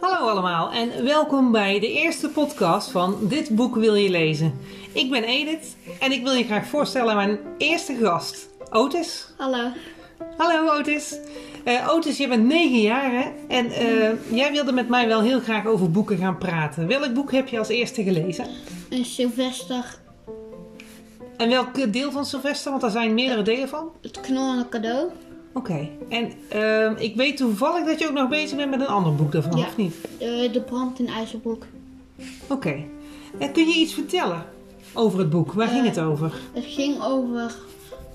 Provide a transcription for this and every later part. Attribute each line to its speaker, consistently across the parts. Speaker 1: Hallo allemaal en welkom bij de eerste podcast van Dit Boek Wil Je Lezen. Ik ben Edith en ik wil je graag voorstellen aan mijn eerste gast, Otis.
Speaker 2: Hallo.
Speaker 1: Hallo Otis. Eh, Otis, je bent 9 jaar hè? en eh, jij wilde met mij wel heel graag over boeken gaan praten. Welk boek heb je als eerste gelezen?
Speaker 2: Een Sylvester,
Speaker 1: En welk deel van Sylvester, want daar zijn meerdere delen van.
Speaker 2: het knollende cadeau.
Speaker 1: Oké, en eh, ik weet toevallig dat je ook nog bezig bent met een ander boek daarvan,
Speaker 2: Ja.
Speaker 1: of niet?
Speaker 2: eh, de brand in IJzerbroek.
Speaker 1: Oké, en kun je iets vertellen over het boek? Waar ging
Speaker 2: Eh,
Speaker 1: het over?
Speaker 2: Het ging over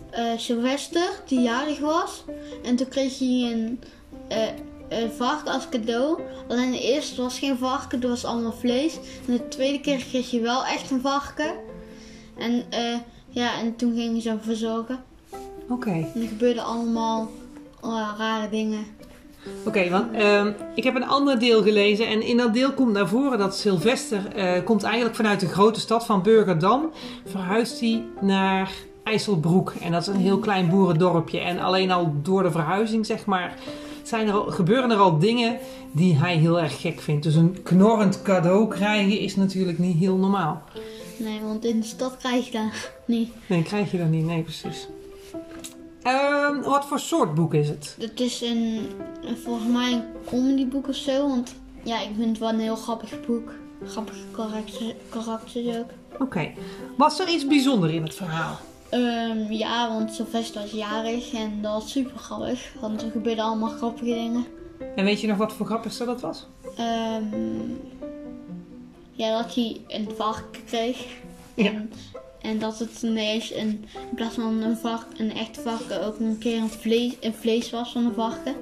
Speaker 2: eh Sylvester, die jarig was. En toen kreeg hij een, eh, een varken als cadeau. Alleen de eerste was geen varken, dat was allemaal vlees. En de tweede keer kreeg hij wel echt een varken. En, eh, ja, en toen ging hij zo verzorgen.
Speaker 1: Oké.
Speaker 2: En er gebeurden allemaal eh, rare dingen.
Speaker 1: Oké, want ehm, ik heb een ander deel gelezen en in dat deel komt naar voren dat Sylvester eh, komt eigenlijk vanuit de grote stad van Burgerdam, verhuist hij naar IJsselbroek en dat is een heel klein boerendorpje en alleen al door de verhuizing zeg maar zijn er al, gebeuren er al dingen die hij heel erg gek vindt. Dus een knorrend cadeau krijgen is natuurlijk niet heel normaal.
Speaker 2: Nee, want in de stad krijg je dat niet.
Speaker 1: Nee, krijg je dat niet. Nee, precies. Ehm, wat voor soort boek is het?
Speaker 2: Het is een, een- volgens mij een comedyboek of zo. Want ja, ik vind het wel een heel grappig boek. Grappige karakter, karakters ook.
Speaker 1: Oké. Was er iets bijzonder in het verhaal?
Speaker 2: Ehm, ja, want Sylvester was jarig en dat was super grappig. Want er gebeurden allemaal grappige dingen.
Speaker 1: En weet je nog wat voor grappigste dat was?
Speaker 2: Ehm, ja, dat hij een varken kreeg.
Speaker 1: Ja.
Speaker 2: En, en dat het ineens een, in plaats van een, vark, een echt varken ook een keer een vlees, een vlees was van een varken.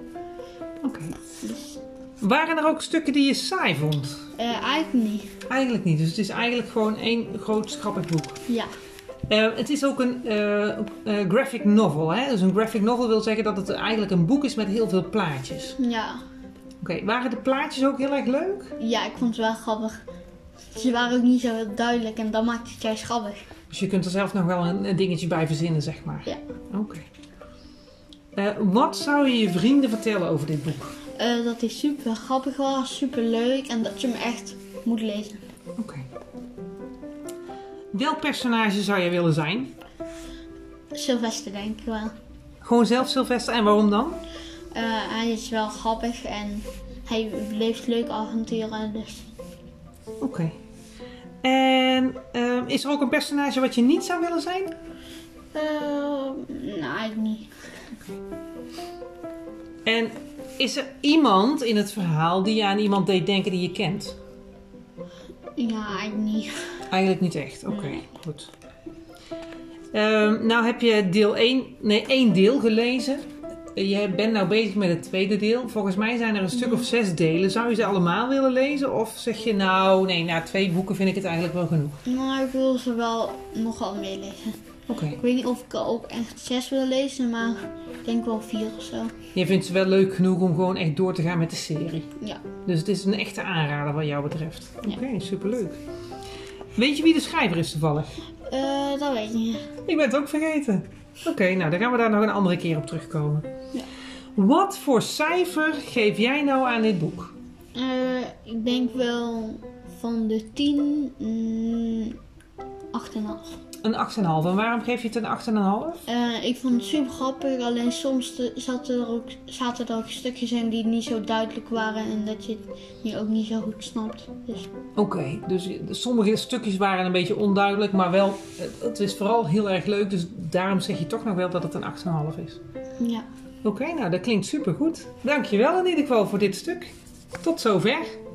Speaker 2: Dus,
Speaker 1: Oké. Waren er ook stukken die je saai vond?
Speaker 2: Eh, eigenlijk niet.
Speaker 1: Eigenlijk niet. Dus het is eigenlijk gewoon één groot grappig boek.
Speaker 2: Ja.
Speaker 1: Eh, het is ook een eh, eh, graphic novel. Hè? Dus een graphic novel wil zeggen dat het eigenlijk een boek is met heel veel plaatjes.
Speaker 2: Ja.
Speaker 1: Oké, waren de plaatjes ook heel erg leuk?
Speaker 2: Ja, ik vond het wel grappig. Ze waren ook niet zo heel duidelijk en dat maakt het juist grappig.
Speaker 1: Dus je kunt er zelf nog wel een, een dingetje bij verzinnen, zeg maar.
Speaker 2: Ja.
Speaker 1: Oké. Eh, wat zou je je vrienden vertellen over dit boek?
Speaker 2: Eh, dat hij super grappig was, super leuk en dat je hem echt moet lezen.
Speaker 1: Oké. Welk personage zou jij willen zijn?
Speaker 2: Sylvester denk ik wel.
Speaker 1: Gewoon zelf Sylvester en waarom dan?
Speaker 2: Eh, hij is wel grappig en hij leeft leuk avonturen. Dus
Speaker 1: Oké. En ehm, is er ook een personage wat je niet zou willen zijn?
Speaker 2: eh, nou, eigenlijk niet.
Speaker 1: En is er iemand in het verhaal die je aan iemand deed denken die je kent?
Speaker 2: Ja, eigenlijk niet.
Speaker 1: Eigenlijk niet echt. Oké, goed. Ehm, nou heb je deel 1, nee, één deel gelezen. Je bent nou bezig met het tweede deel. Volgens mij zijn er een stuk of zes delen. Zou je ze allemaal willen lezen? Of zeg je nou, nee, na twee boeken vind ik het eigenlijk wel genoeg?
Speaker 2: Maar ik wil ze wel nogal meer lezen.
Speaker 1: Oké.
Speaker 2: Ik weet niet of ik er ook echt zes wil lezen, maar ik denk wel vier of zo.
Speaker 1: Je vindt ze wel leuk genoeg om gewoon echt door te gaan met de serie.
Speaker 2: Ja.
Speaker 1: Dus het is een echte aanrader wat jou betreft. Oké,
Speaker 2: Ja.
Speaker 1: superleuk. Weet je wie de schrijver is toevallig?
Speaker 2: Eh, dat weet ik niet.
Speaker 1: Ik ben het ook vergeten. Oké, nou dan gaan we daar nog een andere keer op terugkomen.
Speaker 2: Ja.
Speaker 1: Wat voor cijfer geef jij nou aan dit boek?
Speaker 2: Eh, ik denk wel van de 10, mm, 8,5.
Speaker 1: Een 8,5. En waarom geef je het een 8,5?
Speaker 2: Eh, ik vond het super grappig, alleen soms te- zaten er, ook, zaten er ook stukjes in die niet zo duidelijk waren en dat je het niet- ook niet zo goed snapt. Dus
Speaker 1: Oké, dus sommige stukjes waren een beetje onduidelijk, maar wel, het- het is vooral heel erg leuk. Dus daarom zeg je toch nog wel dat het een 8,5 is.
Speaker 2: ja.
Speaker 1: Oké, nou dat klinkt supergoed. Dankjewel in ieder geval voor dit stuk. Tot zover.